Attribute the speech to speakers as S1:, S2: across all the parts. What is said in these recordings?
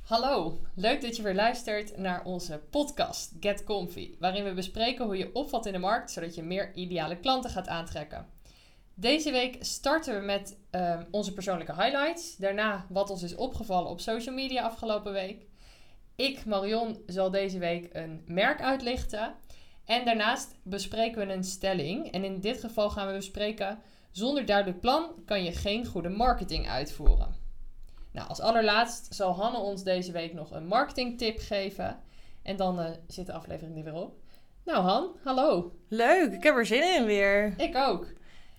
S1: Hallo, leuk dat je weer luistert naar onze podcast Get Comfy, waarin we bespreken hoe je opvalt in de markt zodat je meer ideale klanten gaat aantrekken. Deze week starten we met eh, onze persoonlijke highlights, daarna wat ons is opgevallen op social media afgelopen week. Ik, Marion, zal deze week een merk uitlichten. En daarnaast bespreken we een stelling. En in dit geval gaan we bespreken: zonder duidelijk plan kan je geen goede marketing uitvoeren. Nou, als allerlaatst zal Hanne ons deze week nog een marketingtip geven. En dan eh, zit de aflevering er weer op. Nou, Han, hallo.
S2: Leuk, ik heb er zin in weer. Ik
S1: Ik ook.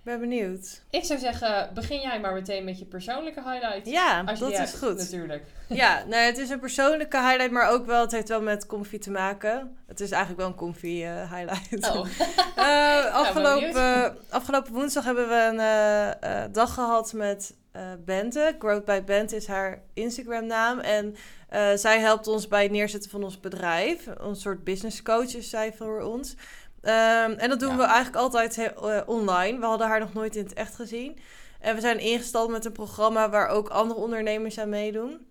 S2: ben benieuwd.
S1: Ik zou zeggen, begin jij maar meteen met je persoonlijke highlights.
S2: Ja,
S1: Als je
S2: dat
S1: die
S2: is
S1: hebt,
S2: goed.
S1: Natuurlijk.
S2: Ja, nou, het is een persoonlijke highlight, maar ook wel, het heeft wel met comfy te maken. Het is eigenlijk wel een comfy eh, highlight.
S1: Oh,
S2: Eh,
S1: ben
S2: afgelopen,
S1: benieuwd.
S2: afgelopen woensdag hebben we een eh, eh, dag gehad met eh, Bente. Growth by Bente is haar Instagram naam. En eh, zij helpt ons bij het neerzetten van ons bedrijf. Een soort business coach is zij voor ons. Ehm, en dat doen
S1: Ja.
S2: we eigenlijk altijd he- eh, online. We hadden haar nog nooit in het echt gezien. En we zijn ingestald met een programma waar ook andere ondernemers aan meedoen.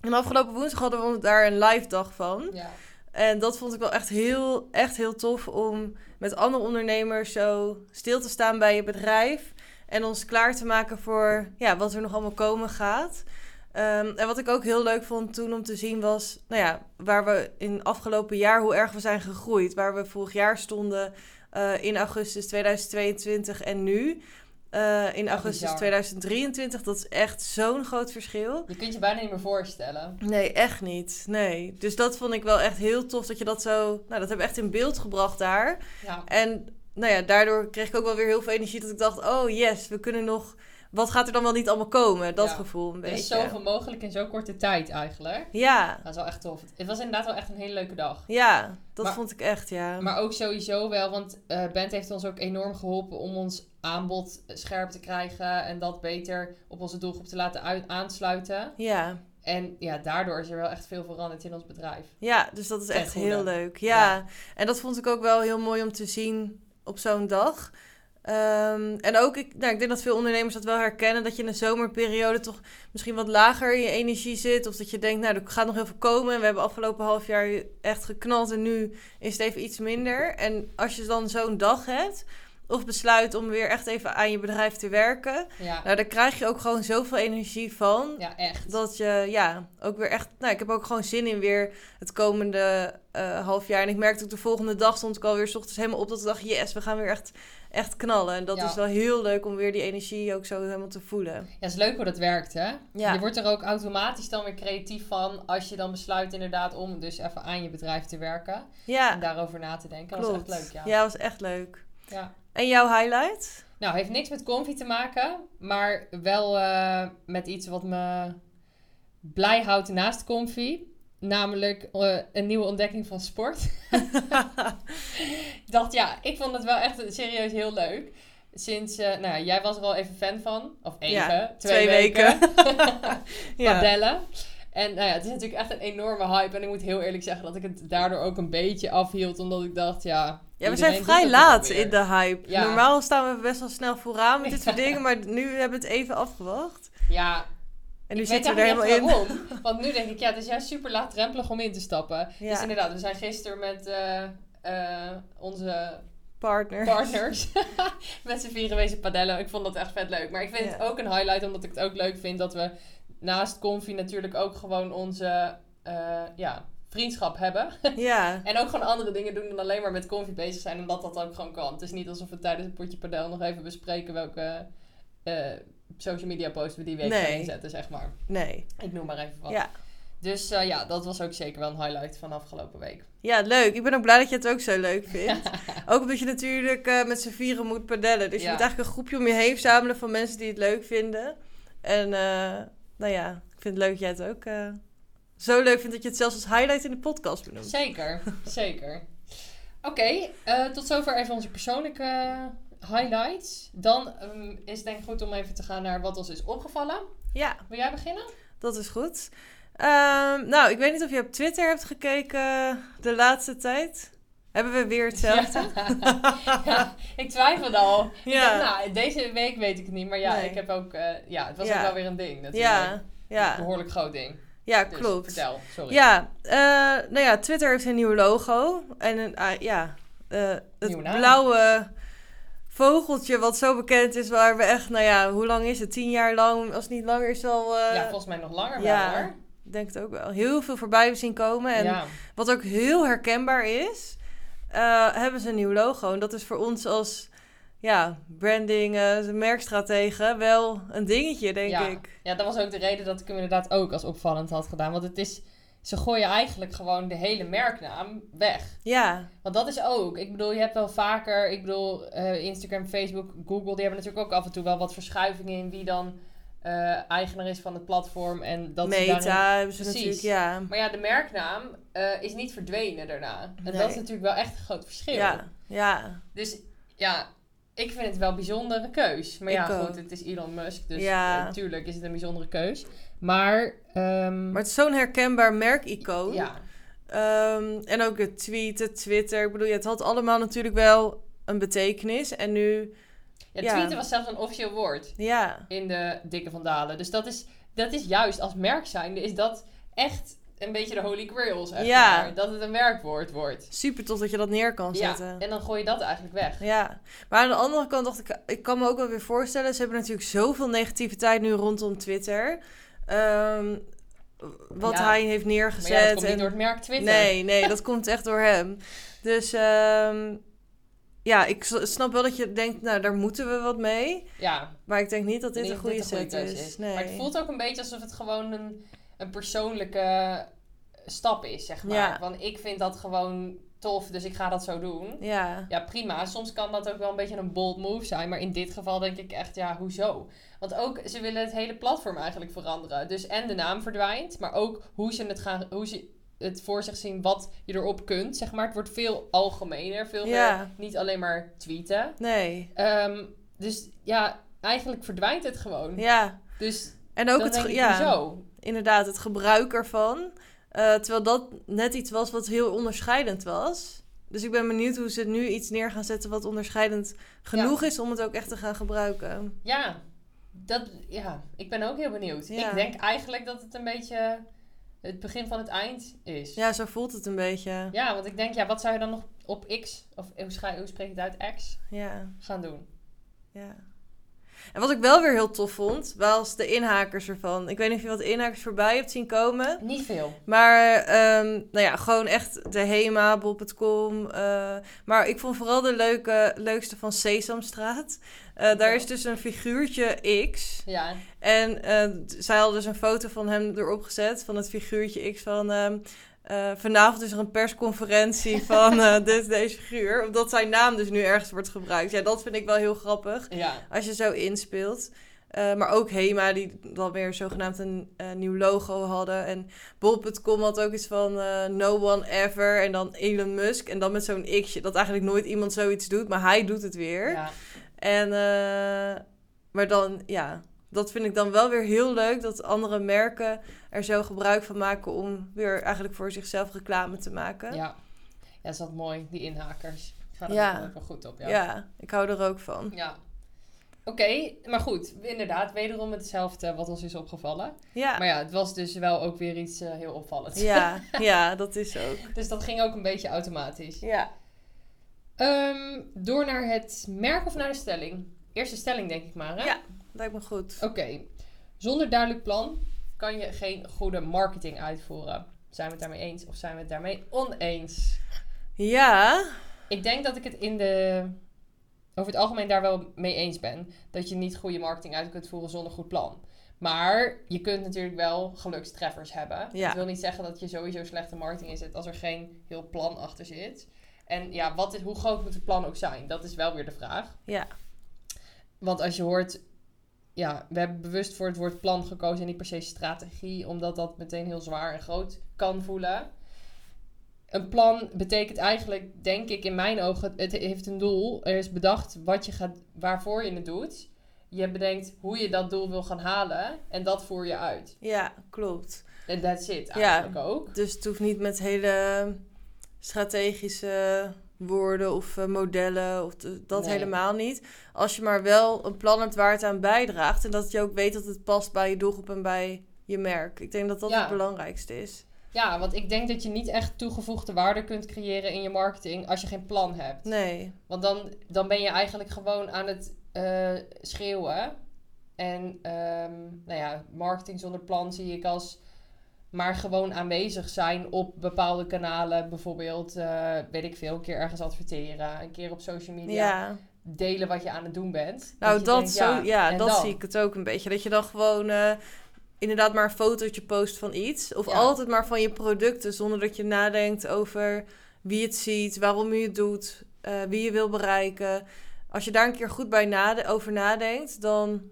S2: En afgelopen woensdag hadden we daar een live dag van.
S1: Oh, ja.
S2: En dat vond ik wel echt heel, echt heel tof om met andere ondernemers zo stil te staan bij je bedrijf. En ons klaar te maken voor ja, wat er nog allemaal komen gaat. Ehm, en wat ik ook heel leuk vond toen om te zien was, nou ja, waar we in afgelopen jaar, hoe erg we zijn gegroeid. Waar we vorig jaar stonden eh, in augustus 2022 en nu. eh, in
S1: Ja,
S2: augustus
S1: bizar.
S2: 2023, dat is echt zo'n groot verschil.
S1: Je kunt je bijna niet meer voorstellen.
S2: Nee, echt niet. Nee. Dus dat vond ik wel echt heel tof dat je dat zo. Nou, dat hebben we echt in beeld gebracht daar.
S1: Ja,
S2: En nou ja, daardoor kreeg ik ook wel weer heel veel energie dat ik dacht: oh yes, we kunnen nog. Wat gaat er dan wel niet allemaal komen? Dat
S1: Ja.
S2: gevoel
S1: er
S2: een
S1: is
S2: beetje.
S1: zoveel mogelijk in zo'n korte tijd eigenlijk.
S2: Ja,
S1: Dat is wel echt tof. Het was inderdaad wel echt een hele leuke dag.
S2: ja, dat
S1: Maar-
S2: vond ik echt, ja.
S1: Maar ook sowieso wel, want eh Bent heeft ons ook enorm geholpen om ons aanbod scherp te krijgen en dat beter op onze doelgroep te laten uit- aansluiten.
S2: Ja,
S1: En ja, daardoor is er wel echt veel veranderd in ons bedrijf.
S2: ja, dus dat is
S1: Ten
S2: echt
S1: goede.
S2: heel leuk. Ja.
S1: Ja.
S2: en dat vond ik ook wel heel mooi om te zien op zo'n dag. Ehm, en ook, ik, nou, ik denk dat veel ondernemers dat wel herkennen, dat je in de zomerperiode toch misschien wat lager in je energie zit. Of dat je denkt, nou, er gaat nog heel veel komen. En we hebben afgelopen half jaar echt geknald en nu is het even iets minder. En als je dan zo'n dag hebt, of besluit om weer echt even aan je bedrijf te werken,
S1: Ja,
S2: nou, daar krijg je ook gewoon zoveel energie van.
S1: ja echt.
S2: Dat je, ja, ook weer echt... Nou, ik heb ook gewoon zin in weer het komende eh, half jaar. En ik merkte ook de volgende dag stond ik alweer 's ochtends helemaal op... dat ik dacht, yes, we gaan weer echt, echt knallen. En dat
S1: Ja.
S2: is wel heel leuk om weer die energie ook zo helemaal te voelen.
S1: Ja, is leuk hoe dat werkt, hè?
S2: Ja.
S1: Je wordt er ook automatisch dan weer creatief van als je dan besluit inderdaad om dus even aan je bedrijf te werken en
S2: Ja,
S1: daarover na te denken. Dat
S2: klopt.
S1: is echt leuk, ja.
S2: was echt leuk.
S1: Ja.
S2: En jouw highlight?
S1: Nou, heeft niks met comfy te maken, maar wel eh, met iets wat me blij houdt naast comfy. Namelijk eh, een nieuwe ontdekking van sport. ik dacht, ja, ik vond het wel echt serieus heel leuk. Sinds, eh, nou ja, jij was er al even fan van. Of even,
S2: Ja,
S1: twee,
S2: twee
S1: weken.
S2: ja.
S1: Padellen. En nou ja, het is natuurlijk echt een enorme hype. En ik moet heel eerlijk zeggen dat ik het daardoor ook een beetje afhield. Omdat ik dacht, ja...
S2: ja, we
S1: iedereen
S2: zijn
S1: doet
S2: vrij
S1: het nog
S2: laat
S1: weer.
S2: in de hype.
S1: Ja.
S2: Normaal staan we best wel snel vooraan met dit soort
S1: Ja.
S2: dingen... maar nu hebben we het even afgewacht.
S1: Ja,
S2: En nu
S1: Ik
S2: zitten we
S1: weet
S2: er
S1: eigenlijk
S2: helemaal in.
S1: niet echt waarom. Want nu denk ik, ja, het is juist super laagdrempelig om in te stappen.
S2: Ja.
S1: Dus inderdaad, we zijn gisteren met eh, eh, onze
S2: Partner.
S1: partners met z'n vieren wezen padellen. Ik vond dat echt vet leuk. Maar ik vind het
S2: Ja.
S1: ook een highlight, omdat ik het ook leuk vind dat we naast Confi natuurlijk ook gewoon onze eh, ja, vriendschap hebben.
S2: Ja.
S1: En ook gewoon andere dingen doen dan alleen maar met Confi bezig zijn, omdat dat ook gewoon kan. Het is niet alsof we tijdens een potje padel nog even bespreken welke eh, social media posts we die week gaan
S2: Nee.
S1: inzetten, zeg maar.
S2: Nee.
S1: Ik noem maar even wat.
S2: Ja.
S1: Dus eh, ja, dat was ook zeker wel een highlight van afgelopen week.
S2: Ja, leuk. Ik ben ook blij dat je het ook zo leuk vindt. ook omdat je natuurlijk eh, met z'n vieren moet padellen. Dus
S1: Ja.
S2: je moet eigenlijk een groepje om je heen verzamelen van mensen die het leuk vinden. En eh, nou ja, ik vind het leuk dat jij het ook eh, zo leuk vindt dat je het zelfs als highlight in de podcast benoemt.
S1: Zeker, zeker. Oké, eh, tot zover even onze persoonlijke highlights. Dan ehm, is het denk ik goed om even te gaan naar wat ons is opgevallen.
S2: Ja,
S1: Wil jij beginnen?
S2: dat is goed. Ehm, nou, ik weet niet of je op Twitter hebt gekeken de laatste tijd. Hebben we weer hetzelfde?
S1: Ja. Ja, ik twijfelde al. Ik
S2: Ja.
S1: dacht, nou, deze week weet ik het niet, maar ja,
S2: Nee.
S1: ik heb ook, eh, ja, het was
S2: Ja.
S1: ook wel weer een ding natuurlijk.
S2: ja. ja.
S1: Een behoorlijk groot ding.
S2: Ja,
S1: Dus
S2: klopt.
S1: vertel, sorry.
S2: Ja, eh, nou ja, Twitter heeft een nieuw logo. En een, ah, ja, eh, het
S1: Nieuwe naam.
S2: blauwe vogeltje wat zo bekend is, waar we echt, nou ja, hoe lang is het? Tien jaar lang, als het niet langer is al, eh,
S1: ja, volgens mij nog langer
S2: ja,
S1: wel hoor.
S2: ik denk het ook wel, heel veel voorbij hebben zien komen. En
S1: ja.
S2: wat ook heel herkenbaar is, eh, hebben ze een nieuw logo. En dat is voor ons als ja, branding, eh merkstrategen wel een dingetje, denk
S1: ja.
S2: ik.
S1: Ja, dat was ook de reden dat ik hem inderdaad ook als opvallend had gedaan. Want het is, ze gooien eigenlijk gewoon de hele merknaam weg.
S2: Ja,
S1: Want dat is ook, ik bedoel, je hebt wel vaker, ik bedoel, eh, Instagram, Facebook, Google, die hebben natuurlijk ook af en toe wel wat verschuivingen in wie dan eh, eigenaar is van het platform. En dat ze
S2: meta
S1: daarin-
S2: hebben ze
S1: Precies.
S2: natuurlijk, ja.
S1: Maar ja, de merknaam eh, is niet verdwenen daarna. En
S2: Nee.
S1: dat is natuurlijk wel echt een groot verschil.
S2: Ja, ja,
S1: Dus ja, ik vind het wel een bijzondere keus. Maar
S2: Ik
S1: ja,
S2: ook.
S1: goed, het is Elon Musk. Dus
S2: Ja.
S1: natuurlijk is het een bijzondere keus. Maar, ehm,
S2: maar het is zo'n herkenbaar merkicoon.
S1: ja,
S2: Ehm, en ook het tweeten, Twitter. Ik bedoel, ja, het had allemaal natuurlijk wel een betekenis. En nu,
S1: ja,
S2: Ja.
S1: tweeten was zelfs een officieel woord
S2: ja,
S1: in de Dikke van Dalen. Dus dat is, dat is juist als merk zijnde, is dat echt een beetje de holy grail. Zeg
S2: Ja.
S1: maar. Dat het een werkwoord wordt.
S2: super tof dat je dat neer kan zetten.
S1: Ja, en dan gooi je dat eigenlijk weg.
S2: Ja, maar aan de andere kant dacht ik, ik kan me ook wel weer voorstellen, ze hebben natuurlijk zoveel negativiteit nu rondom Twitter. Ehm, wat
S1: Ja.
S2: hij heeft
S1: Maar
S2: neergezet.
S1: ja, dat komt
S2: en-
S1: niet door het merk Twitter.
S2: Nee, nee, dat komt echt door hem. Dus ehm, ja, ik s- snap wel dat je denkt, nou daar moeten we wat mee.
S1: Ja,
S2: Maar ik denk niet dat dit
S1: Ik
S2: een
S1: denk
S2: goede
S1: dat dit
S2: set
S1: keuze
S2: is. Nee.
S1: Maar het voelt ook een beetje alsof het gewoon een, een persoonlijke stap is, zeg maar.
S2: Ja.
S1: Want ik vind dat gewoon tof, dus ik ga dat zo doen.
S2: Ja,
S1: Ja, prima. Soms kan dat ook wel een beetje een bold move zijn. Maar in dit geval denk ik echt, ja, hoezo? Want ook, ze willen het hele platform eigenlijk veranderen. Dus en de naam verdwijnt, maar ook hoe ze het gaan... Hoe ze het voor zich zien wat je erop kunt, zeg maar. Het wordt veel algemener, veel meer
S2: Ja.
S1: niet alleen maar tweeten.
S2: nee.
S1: Ehm, dus ja, eigenlijk verdwijnt het gewoon.
S2: Ja,
S1: Dus
S2: en ook
S1: dan
S2: het,
S1: denk
S2: ge-
S1: ik,
S2: ja,
S1: hoezo?
S2: inderdaad, het gebruik ervan. Eh, terwijl dat net iets was wat heel onderscheidend was. Dus ik ben benieuwd hoe ze nu iets neer gaan zetten wat onderscheidend genoeg is om het ook echt te gaan gebruiken.
S1: Ja, dat, ja, ik ben ook heel benieuwd.
S2: Ja.
S1: Ik denk eigenlijk dat het een beetje het begin van het eind is.
S2: Ja, zo voelt het een beetje.
S1: Ja, want ik denk, ja, wat zou je dan nog op X, of hoe, scha- hoe spreek je het uit, X,
S2: Ja,
S1: gaan doen?
S2: ja. En wat ik wel weer heel tof vond, was de inhakers ervan. Ik weet niet of je wat inhakers voorbij hebt zien komen.
S1: Niet veel.
S2: Maar ehm, nou ja, gewoon echt de Hema, Bob.com. eh, maar ik vond vooral de leuke, leukste van Sesamstraat. Eh, daar is dus een figuurtje X.
S1: Ja,
S2: En eh, d- zij hadden dus een foto van hem erop gezet, van het figuurtje X van... ehm, eh, vanavond is er een persconferentie van eh, dit, deze figuur. Omdat zijn naam dus nu ergens wordt gebruikt. Ja, dat vind ik wel heel grappig
S1: ja.
S2: als je zo inspeelt. Eh, maar ook Hema, die dan weer zogenaamd een eh, nieuw logo hadden. En Bol.com had ook iets van eh, No One Ever. En dan Elon Musk. En dan met zo'n x'je. Dat eigenlijk nooit iemand zoiets doet, maar hij doet het weer.
S1: ja.
S2: En, eh, maar dan, ja, dat vind ik dan wel weer heel leuk. Dat andere merken er zo gebruik van maken om weer eigenlijk voor zichzelf reclame te maken.
S1: Ja, ja, dat is wat mooi, die inhakers. Ik ga er
S2: Ja.
S1: ook wel goed op,
S2: Ja, ik hou er ook van.
S1: Ja. Oké, maar goed, inderdaad, wederom hetzelfde wat ons is opgevallen.
S2: Ja,
S1: Maar ja, het was dus wel ook weer iets eh, heel opvallends.
S2: ja, ja, dat is ook.
S1: Dus dat ging ook een beetje automatisch.
S2: Ja.
S1: Ehm, door naar het merk of naar de stelling? Eerste stelling, denk ik maar. Hè?
S2: Ja. Lijkt me goed.
S1: Oké. Zonder duidelijk plan kan je geen goede marketing uitvoeren. Zijn we het daarmee eens of zijn we het daarmee oneens?
S2: Ja,
S1: Ik denk dat ik het in de. Over het algemeen daar wel mee eens ben. Dat je niet goede marketing uit kunt voeren zonder goed plan. Maar je kunt natuurlijk wel gelukstreffers hebben.
S2: Ja.
S1: Dat wil niet zeggen dat je sowieso slechte marketing inzet als er geen heel plan achter zit. En ja, wat is, hoe groot moet het plan ook zijn? Dat is wel weer de vraag.
S2: Ja.
S1: Want als je hoort, ja, we hebben bewust voor het woord plan gekozen en niet per se strategie, omdat dat meteen heel zwaar en groot kan voelen. Een plan betekent eigenlijk, denk ik in mijn ogen, het heeft een doel. Er is bedacht wat je gaat, waarvoor je het doet. Je bedenkt hoe je dat doel wil gaan halen en dat voer je uit.
S2: Ja, klopt.
S1: En that's it
S2: Ja.
S1: eigenlijk ook.
S2: Dus het hoeft niet met hele strategische woorden of eh, modellen of de- dat
S1: Nee.
S2: helemaal niet. Als je maar wel een plan hebt waar het aan bijdraagt en dat je ook weet dat het past bij je doelgroep en bij je merk. Ik denk dat dat
S1: Ja.
S2: het belangrijkste is.
S1: Ja, want ik denk dat je niet echt toegevoegde waarde kunt creëren in je marketing als je geen plan hebt.
S2: Nee,
S1: Want dan, dan ben je eigenlijk gewoon aan het eh, schreeuwen. En ehm, nou ja, marketing zonder plan zie ik als maar gewoon aanwezig zijn op bepaalde kanalen. Bijvoorbeeld, eh, weet ik veel, een keer ergens adverteren, een keer op social
S2: ja.
S1: media delen wat je aan het doen bent.
S2: Nou,
S1: je
S2: dat,
S1: denkt,
S2: zo, ja,
S1: en
S2: dat
S1: dan?
S2: zie ik het ook een beetje. Dat je dan gewoon eh, inderdaad maar een fotootje post van iets. Of
S1: Ja.
S2: altijd maar van je producten, zonder dat je nadenkt over wie het ziet, waarom je het doet, eh, wie je wil bereiken. Als je daar een keer goed bij nade over nadenkt, dan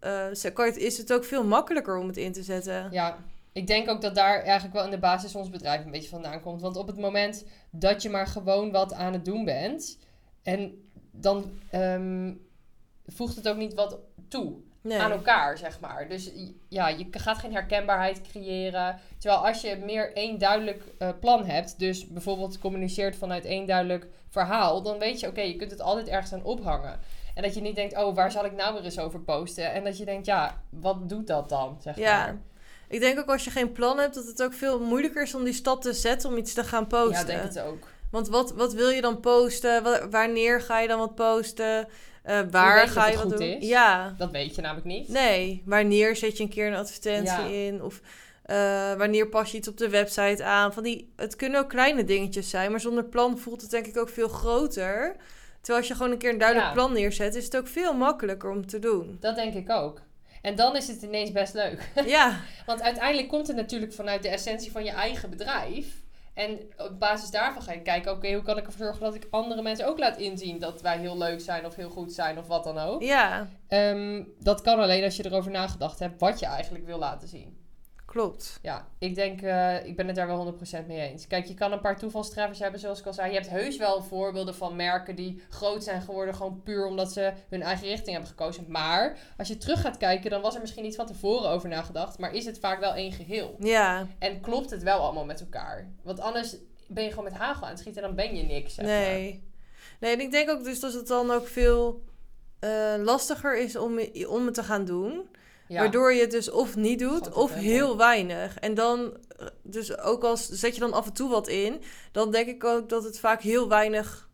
S2: eh, ze- kan je het- is het ook veel makkelijker om het in te zetten.
S1: Ja, ik denk ook dat daar eigenlijk wel in de basis ons bedrijf een beetje vandaan komt. Want op het moment dat je maar gewoon wat aan het doen bent, en dan ehm, voegt het ook niet wat toe
S2: Nee.
S1: aan elkaar, zeg maar. Dus j- ja, je k- gaat geen herkenbaarheid creëren. Terwijl als je meer één duidelijk eh, plan hebt, dus bijvoorbeeld communiceert vanuit één duidelijk verhaal, dan weet je, oké, je kunt het altijd ergens aan ophangen. En dat je niet denkt, oh, waar zal ik nou weer eens over posten? En dat je denkt, ja, wat doet dat dan, zeg maar.
S2: Ja. Ik denk ook als je geen plan hebt, dat het ook veel moeilijker is om die stap te zetten om iets te gaan posten.
S1: Ja, ik denk het ook.
S2: Want wat, wat wil je dan posten? Wa- Wanneer ga je dan wat posten? Eh,
S1: Hoe
S2: waar
S1: weet je
S2: ga
S1: of
S2: je
S1: het
S2: wat
S1: goed
S2: doen?
S1: is?
S2: Ja,
S1: Dat weet je namelijk niet.
S2: nee. Wanneer zet je een keer een advertentie
S1: Ja.
S2: in? Of eh, wanneer pas je iets op de website aan? Van die, het kunnen ook kleine dingetjes zijn, maar zonder plan voelt het denk ik ook veel groter. Terwijl als je gewoon een keer een duidelijk
S1: Ja.
S2: plan neerzet, is het ook veel makkelijker om te doen.
S1: Dat denk ik ook. En dan is het ineens best leuk.
S2: ja,
S1: Want uiteindelijk komt het natuurlijk vanuit de essentie van je eigen bedrijf. En op basis daarvan ga je kijken, oké, hoe kan ik ervoor zorgen dat ik andere mensen ook laat inzien dat wij heel leuk zijn of heel goed zijn of wat dan ook.
S2: ja,
S1: Ehm, dat kan alleen als je erover nagedacht hebt wat je eigenlijk wil laten zien.
S2: klopt.
S1: Ja, ik denk, eh, ik ben het daar wel 100% mee eens. Kijk, je kan een paar toevalstreffers hebben, zoals ik al zei. Je hebt heus wel voorbeelden van merken die groot zijn geworden, gewoon puur omdat ze hun eigen richting hebben gekozen. Maar als je terug gaat kijken, dan was er misschien niet van tevoren over nagedacht, maar is het vaak wel één geheel.
S2: Ja,
S1: En klopt het wel allemaal met elkaar? Want anders ben je gewoon met hagel aan het schieten en dan ben je niks. Zeg
S2: nee. Nee, en ik denk ook dus dat het dan ook veel eh, lastiger is om, om het te gaan doen.
S1: maar. Ja.
S2: Waardoor je het dus of niet
S1: Gat
S2: doet,
S1: het
S2: of
S1: wel,
S2: heel weinig. En dan, eh, dus ook als zet je dan af en toe wat in, dan denk ik ook dat het vaak heel weinig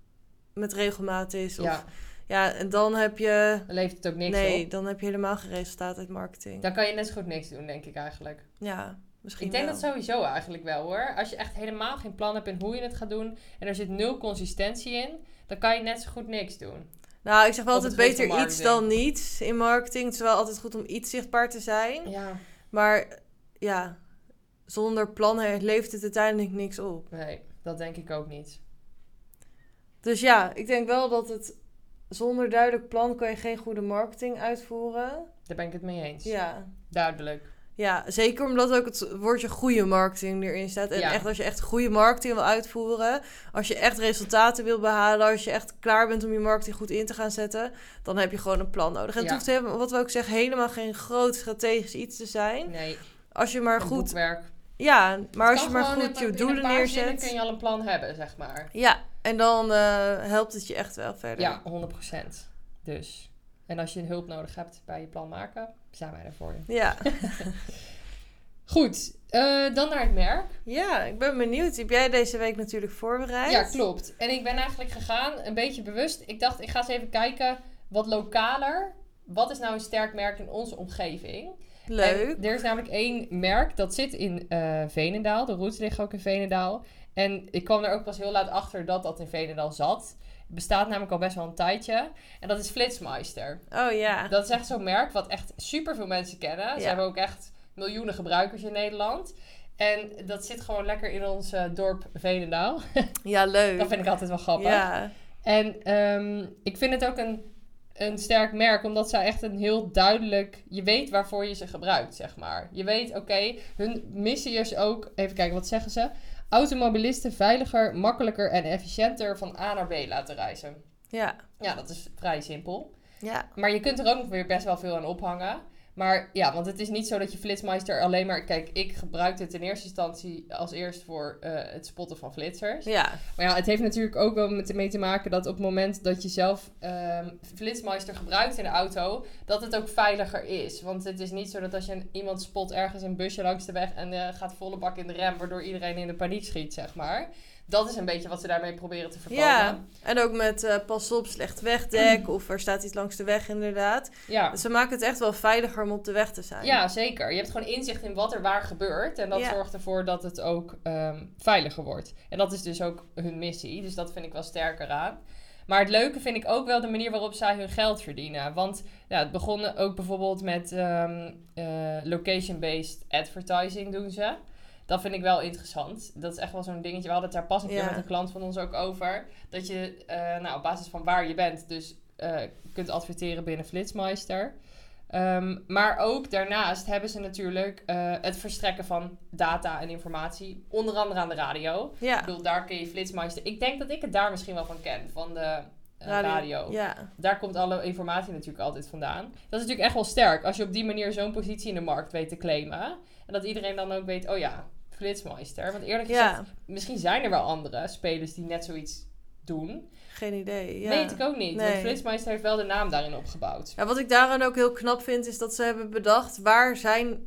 S2: met regelmaat is. Of,
S1: Ja,
S2: ja. en dan heb je.
S1: dan levert het ook niks
S2: nee,
S1: op.
S2: dan heb je helemaal geen resultaat uit marketing.
S1: Dan kan je net zo goed niks doen, denk ik eigenlijk.
S2: Ja, misschien.
S1: Ik denk
S2: wel.
S1: dat sowieso eigenlijk wel hoor. Als je echt helemaal geen plan hebt in hoe je het gaat doen en er zit nul consistentie in, dan kan je net zo goed niks doen.
S2: Nou, ik zeg wel
S1: Op
S2: altijd
S1: het gebied van
S2: beter iets
S1: marketing.
S2: dan niets in marketing. Het is wel altijd goed om iets zichtbaar te zijn.
S1: Ja.
S2: Maar ja, zonder plannen levert het uiteindelijk niks op.
S1: Nee, dat denk ik ook niet.
S2: Dus ja, ik denk wel dat het zonder duidelijk plan kan je geen goede marketing uitvoeren.
S1: Daar ben ik het mee eens.
S2: Ja.
S1: Duidelijk.
S2: Ja, zeker omdat ook het woordje goede marketing erin staat. En
S1: Ja.
S2: echt als je echt goede marketing wil uitvoeren, als je echt resultaten wil behalen, als je echt klaar bent om je marketing goed in te gaan zetten, dan heb je gewoon een plan nodig. En het
S1: Ja.
S2: hoeft helemaal, wat we ook zeggen, helemaal geen groot strategisch iets te zijn.
S1: Nee,
S2: Als je maar
S1: een
S2: goed,
S1: boekwerk.
S2: ja, maar
S1: Het
S2: als je
S1: kan
S2: maar
S1: gewoon
S2: goed
S1: in een-
S2: je
S1: in een
S2: doelen
S1: paar zinnen kun
S2: neerzet.
S1: je al een plan hebben, zeg maar.
S2: Ja, en dan eh, helpt het je echt wel verder.
S1: Ja, 100%. Dus. En als je hulp nodig hebt bij je plan maken, zijn wij er voor je.
S2: Ja.
S1: Goed, eh, dan naar het merk.
S2: Ja, ik ben benieuwd. Heb jij deze week natuurlijk voorbereid?
S1: Ja, klopt. En ik ben eigenlijk gegaan, een beetje bewust. Ik dacht, ik ga eens even kijken wat lokaler. Wat is nou een sterk merk in onze omgeving?
S2: Leuk.
S1: En er is namelijk één merk dat zit in eh, Venendaal. De roots liggen ook in Venendaal. En ik kwam er ook pas heel laat achter dat dat in Venendaal zat. Het bestaat namelijk al best wel een tijdje. En dat is Flitsmeister.
S2: Oh ja.
S1: Dat is echt zo'n merk wat echt superveel mensen kennen. Ze
S2: Ja.
S1: hebben ook echt miljoenen gebruikers in Nederland. En dat zit gewoon lekker in ons eh, dorp Venendaal.
S2: Ja, leuk.
S1: dat vind ik altijd wel grappig.
S2: Ja.
S1: En ehm, ik vind het ook een, een sterk merk, omdat zij echt een heel duidelijk... Je weet waarvoor je ze gebruikt, zeg maar. Je weet, oké, hun missie is ook... Even kijken, wat zeggen ze? Automobilisten veiliger, makkelijker en efficiënter van A naar B laten reizen.
S2: Ja.
S1: Ja, dat is vrij simpel.
S2: Ja.
S1: Maar je kunt er ook nog weer best wel veel aan ophangen. Maar ja, want het is niet zo dat je Flitsmeister alleen maar... Kijk, ik gebruik het in eerste instantie als eerst voor eh, het spotten van flitsers.
S2: Ja,
S1: Maar ja, het heeft natuurlijk ook wel met, mee te maken dat op het moment dat je zelf ehm Flitsmeister gebruikt in de auto, dat het ook veiliger is. Want het is niet zo dat als je een- iemand spot ergens een busje langs de weg en eh, gaat volle bak in de rem, waardoor iedereen in de paniek schiet, zeg maar. Dat is een beetje wat ze daarmee proberen te voorkomen.
S2: ja. en ook met eh, pas op, slecht wegdek of er staat iets langs de weg inderdaad.
S1: ja.
S2: Ze maken het echt wel veiliger om op de weg te zijn.
S1: Ja, zeker. Je hebt gewoon inzicht in wat er waar gebeurt. En dat
S2: Ja.
S1: zorgt ervoor dat het ook ehm, veiliger wordt. En dat is dus ook hun missie. Dus dat vind ik wel sterker aan. Maar het leuke vind ik ook wel de manier waarop zij hun geld verdienen. Want ja, het begon ook bijvoorbeeld met ehm, eh, location-based advertising doen ze. Dat vind ik wel interessant. Dat is echt wel zo'n dingetje. We hadden het daar pas een keer
S2: Ja.
S1: met een klant van ons ook over. Dat je eh, nou, op basis van waar je bent dus eh, kunt adverteren binnen Flitsmeister. Ehm, maar ook daarnaast hebben ze natuurlijk eh, het verstrekken van data en informatie. Onder andere aan de radio. Ik
S2: Ja,
S1: bedoel, daar kun je Flitsmeister... Ik denk dat ik het daar misschien wel van ken, van de eh, radio.
S2: Ja,
S1: Daar komt alle informatie natuurlijk altijd vandaan. Dat is natuurlijk echt wel sterk. Als je op die manier zo'n positie in de markt weet te claimen. En dat iedereen dan ook weet, oh ja, Flitsmeister. Want eerlijk gezegd,
S2: ja.
S1: misschien zijn er wel andere spelers die net zoiets doen.
S2: geen idee. Ja.
S1: Weet ik ook niet. Want
S2: Nee.
S1: Flitsmeister heeft wel de naam daarin opgebouwd.
S2: Ja, wat ik daaraan ook heel knap vind, is dat ze hebben bedacht waar zijn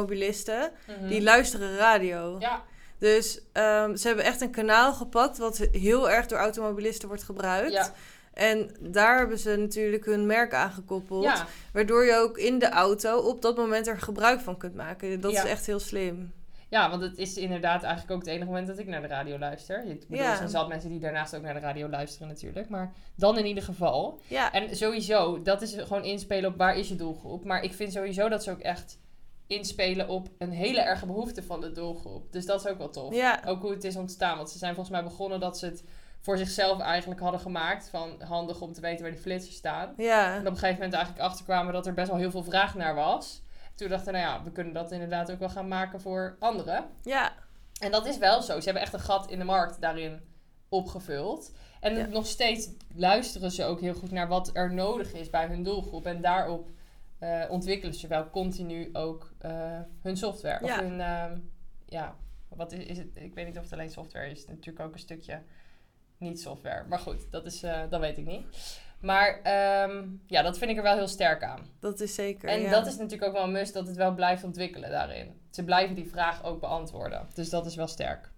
S2: automobilisten die
S1: Mm.
S2: luisteren radio.
S1: Ja,
S2: Dus ehm, ze hebben echt een kanaal gepakt wat heel erg door automobilisten wordt gebruikt.
S1: ja,
S2: En daar hebben ze natuurlijk hun merk aangekoppeld.
S1: ja.
S2: Waardoor je ook in de auto op dat moment er gebruik van kunt maken. Dat
S1: Ja.
S2: is echt heel slim.
S1: ja, want het is inderdaad eigenlijk ook het enige moment dat ik naar de radio luister. Ik bedoel,
S2: Ja.
S1: er zijn zat mensen die daarnaast ook naar de radio luisteren natuurlijk. Maar dan in ieder geval.
S2: Ja,
S1: En sowieso, dat is gewoon inspelen op waar is je doelgroep. Maar ik vind sowieso dat ze ook echt inspelen op een hele erge behoefte van de doelgroep. Dus dat is ook wel tof.
S2: ja,
S1: Ook hoe het is ontstaan. Want ze zijn volgens mij begonnen dat ze het voor zichzelf eigenlijk hadden gemaakt. Van handig om te weten waar die flitsers staan.
S2: ja.
S1: En op een gegeven moment eigenlijk achterkwamen dat er best wel heel veel vraag naar was. Toen dachten, nou ja, we kunnen dat inderdaad ook wel gaan maken voor anderen.
S2: ja.
S1: En dat is wel zo. Ze hebben echt een gat in de markt daarin opgevuld. En
S2: Ja.
S1: nog steeds luisteren ze ook heel goed naar wat er nodig is bij hun doelgroep. En daarop eh, ontwikkelen ze wel continu ook eh, hun software. Of
S2: Ja.
S1: hun, ehm, ja, wat is, is het? Ik weet niet of het alleen software is. Natuurlijk ook een stukje niet software. Maar goed, dat, is, eh, dat weet ik niet. Maar ehm, ja, dat vind ik er wel heel sterk aan.
S2: dat is zeker.
S1: En
S2: ja.
S1: dat is natuurlijk ook wel een must dat het wel blijft ontwikkelen daarin. Ze blijven die vraag ook beantwoorden. Dus dat is wel sterk.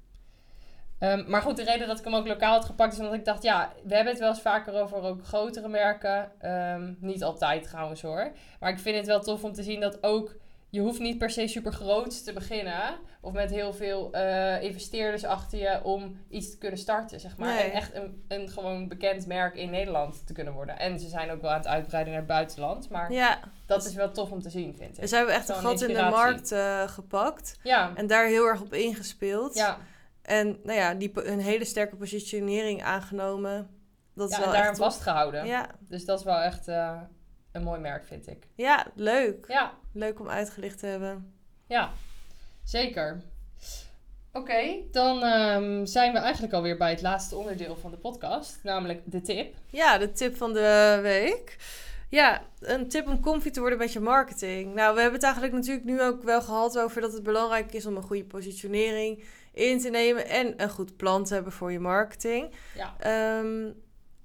S1: Ehm, maar goed, de reden dat ik hem ook lokaal had gepakt is omdat ik dacht, ja, we hebben het wel eens vaker over ook grotere merken. Ehm, niet altijd trouwens hoor. Maar ik vind het wel tof om te zien dat ook, je hoeft niet per se super groot te beginnen. Of met heel veel eh, investeerders achter je om iets te kunnen starten, zeg maar.
S2: Nee.
S1: En echt een, een gewoon bekend merk in Nederland te kunnen worden. En ze zijn ook wel aan het uitbreiden naar het buitenland. Maar
S2: Ja,
S1: dat is wel tof om te zien, vind
S2: en
S1: ik.
S2: ze hebben echt een
S1: Zo'n
S2: gat in de
S1: inspiratie.
S2: markt eh, gepakt.
S1: Ja,
S2: Dus- En daar heel erg op ingespeeld.
S1: ja.
S2: En nou ja, die, po- een hele sterke positionering aangenomen. Dat
S1: ja
S2: is wel
S1: en daaraan
S2: echt top.
S1: vastgehouden.
S2: Ja.
S1: Dus dat is wel echt eh, een mooi merk, vind ik.
S2: ja, leuk.
S1: Ja,
S2: Leuk om uitgelicht te hebben.
S1: ja. Zeker. Oké, dan ehm, zijn we eigenlijk alweer bij het laatste onderdeel van de podcast, namelijk de tip.
S2: Ja, de tip van de week. Ja, een tip om comfy te worden met je marketing. Nou, we hebben het eigenlijk natuurlijk nu ook wel gehad over dat het belangrijk is om een goede positionering in te nemen en een goed plan te hebben voor je marketing.
S1: Ja.
S2: Ehm,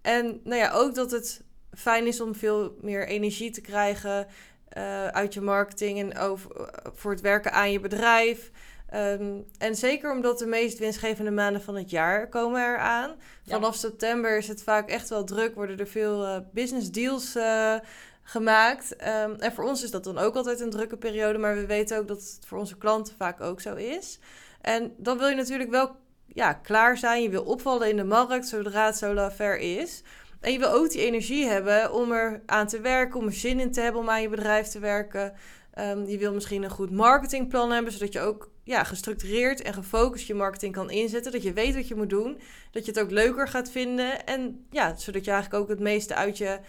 S2: en nou ja, ook dat het fijn is om veel meer energie te krijgen eh, uit je marketing en over, voor het werken aan je bedrijf. Ehm, en zeker omdat de meest winstgevende maanden van het jaar komen eraan.
S1: Ja.
S2: Vanaf september is het vaak echt wel druk, worden er veel eh, business deals eh, gemaakt. Ehm, en voor ons is dat dan ook altijd een drukke periode, maar we weten ook dat het voor onze klanten vaak ook zo is. En dan wil je natuurlijk wel ja, klaar zijn, je wil opvallen in de markt zodra het zo ver is. En je wil ook die energie hebben om er aan te werken, om er zin in te hebben om aan je bedrijf te werken. Ehm, je wil misschien een goed marketingplan hebben, zodat je ook ja, gestructureerd en gefocust je marketing kan inzetten. Dat je weet wat je moet doen, dat je het ook leuker gaat vinden. En ja, zodat je eigenlijk ook het meeste uit je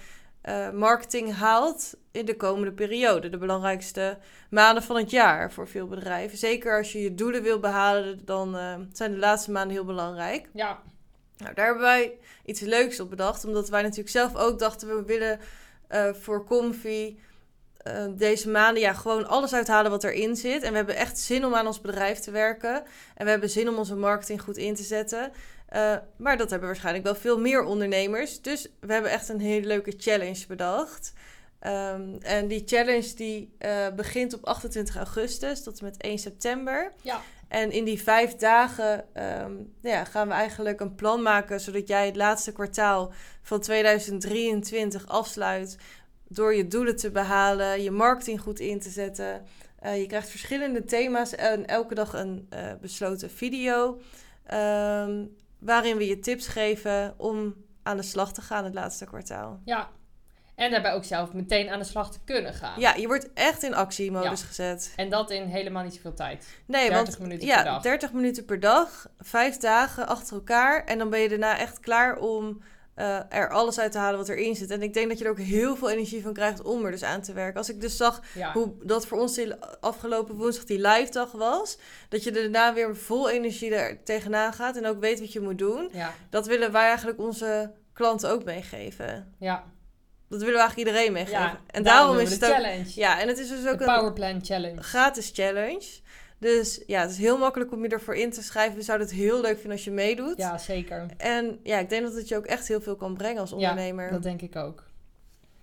S2: eh, marketing haalt in de komende periode. De belangrijkste maanden van het jaar voor veel bedrijven. Zeker als je je doelen wil behalen, dan eh, zijn de laatste maanden heel belangrijk.
S1: Ja,
S2: Nou, daar hebben wij iets leuks op bedacht. Omdat wij natuurlijk zelf ook dachten, we willen eh, voor Comfy eh, deze maanden ja, gewoon alles uithalen wat erin zit. En we hebben echt zin om aan ons bedrijf te werken. En we hebben zin om onze marketing goed in te zetten. Eh, maar dat hebben waarschijnlijk wel veel meer ondernemers. Dus we hebben echt een hele leuke challenge bedacht. Ehm, en die challenge die eh, begint op 28 augustus tot en met 1 september.
S1: Ja.
S2: En in die vijf dagen ehm, nou ja, gaan we eigenlijk een plan maken zodat jij het laatste kwartaal van 2023 afsluit door je doelen te behalen, je marketing goed in te zetten. Eh, je krijgt verschillende thema's en elke dag een eh, besloten video ehm, waarin we je tips geven om aan de slag te gaan het laatste kwartaal.
S1: Ja. En daarbij ook zelf meteen aan de slag te kunnen gaan.
S2: Ja, je wordt echt in actiemodus gezet.
S1: En dat in helemaal niet zoveel tijd.
S2: Nee,
S1: 30
S2: want
S1: minuten
S2: ja,
S1: per dag.
S2: 30 minuten per dag, vijf dagen achter elkaar. En dan ben je daarna echt klaar om eh, er alles uit te halen wat erin zit. En ik denk dat je er ook heel veel energie van krijgt om er dus aan te werken. Als ik dus zag
S1: Ja.
S2: hoe dat voor ons die afgelopen woensdag die live dag was, dat je daarna weer vol energie er tegenaan gaat en ook weet wat je moet doen.
S1: Ja.
S2: Dat willen wij eigenlijk onze klanten ook meegeven.
S1: Ja.
S2: Dat willen we eigenlijk iedereen meegeven.
S1: ja.
S2: en daarom,
S1: doen
S2: is
S1: we
S2: het
S1: de
S2: ook.
S1: challenge.
S2: Ja, en het is dus ook
S1: De
S2: een
S1: powerplan challenge.
S2: gratis challenge. Dus ja, het is heel makkelijk om je ervoor in te schrijven. We zouden het heel leuk vinden als je meedoet.
S1: Ja, zeker.
S2: En ja, ik denk dat het je ook echt heel veel kan brengen als ondernemer.
S1: Dat denk ik ook.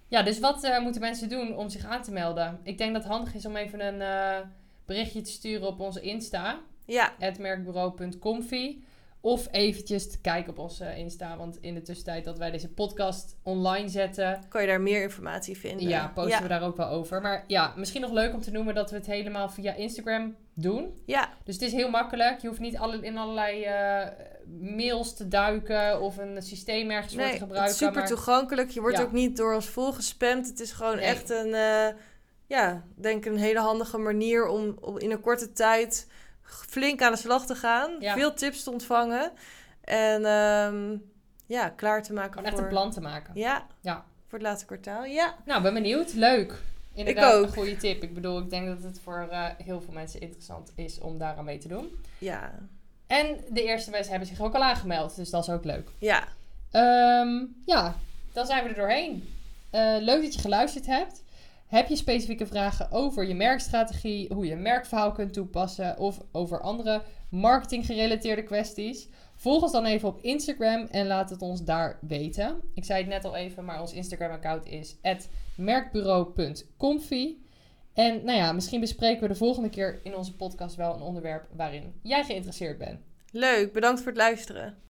S1: Ja, dus wat eh, moeten mensen doen om zich aan te melden? Ik denk dat het handig is om even een eh, berichtje te sturen op onze Insta.
S2: Ja,
S1: merkbureau.comfy. Of eventjes te kijken op onze eh, Insta. Want in de tussentijd dat wij deze podcast online zetten...
S2: kan je daar meer informatie vinden.
S1: Ja, posten
S2: ja.
S1: we daar ook wel over. Maar ja, misschien nog leuk om te noemen dat we het helemaal via Instagram doen.
S2: Ja,
S1: Dus het is heel makkelijk. Je hoeft niet alle, in allerlei eh, mails te duiken of een systeem ergens voor
S2: nee,
S1: te
S2: het
S1: gebruiken.
S2: is super
S1: maar-
S2: toegankelijk. Je wordt
S1: Ja.
S2: ook niet door ons volgespamd. Het is gewoon
S1: Nee.
S2: echt een, eh, ja, denk een hele handige manier om, om in een korte tijd flink aan de slag te gaan.
S1: Ja.
S2: Veel tips te ontvangen. En ehm, ja, klaar te maken
S1: Gewoon
S2: voor...
S1: echt een plan te maken.
S2: Ja.
S1: Ja.
S2: Voor het laatste kwartaal, ja.
S1: Nou, ben benieuwd. Leuk. Inderdaad,
S2: ook.
S1: een goede tip. Ik bedoel, ik denk dat het voor eh, heel veel mensen interessant is om daaraan mee te doen.
S2: Ja.
S1: En de eerste mensen hebben zich ook al aangemeld, dus dat is ook leuk.
S2: Ja.
S1: Ehm, ja, dan zijn we er doorheen. Eh, leuk dat je geluisterd hebt. Heb je specifieke vragen over je merkstrategie, hoe je een merkverhaal kunt toepassen of over andere marketinggerelateerde kwesties? Volg ons dan even op Instagram en laat het ons daar weten. Ik zei het net al even, maar ons Instagram-account is merkbureau.comfy. En nou ja, misschien bespreken we de volgende keer in onze podcast wel een onderwerp waarin jij geïnteresseerd bent.
S2: Leuk, bedankt voor het luisteren.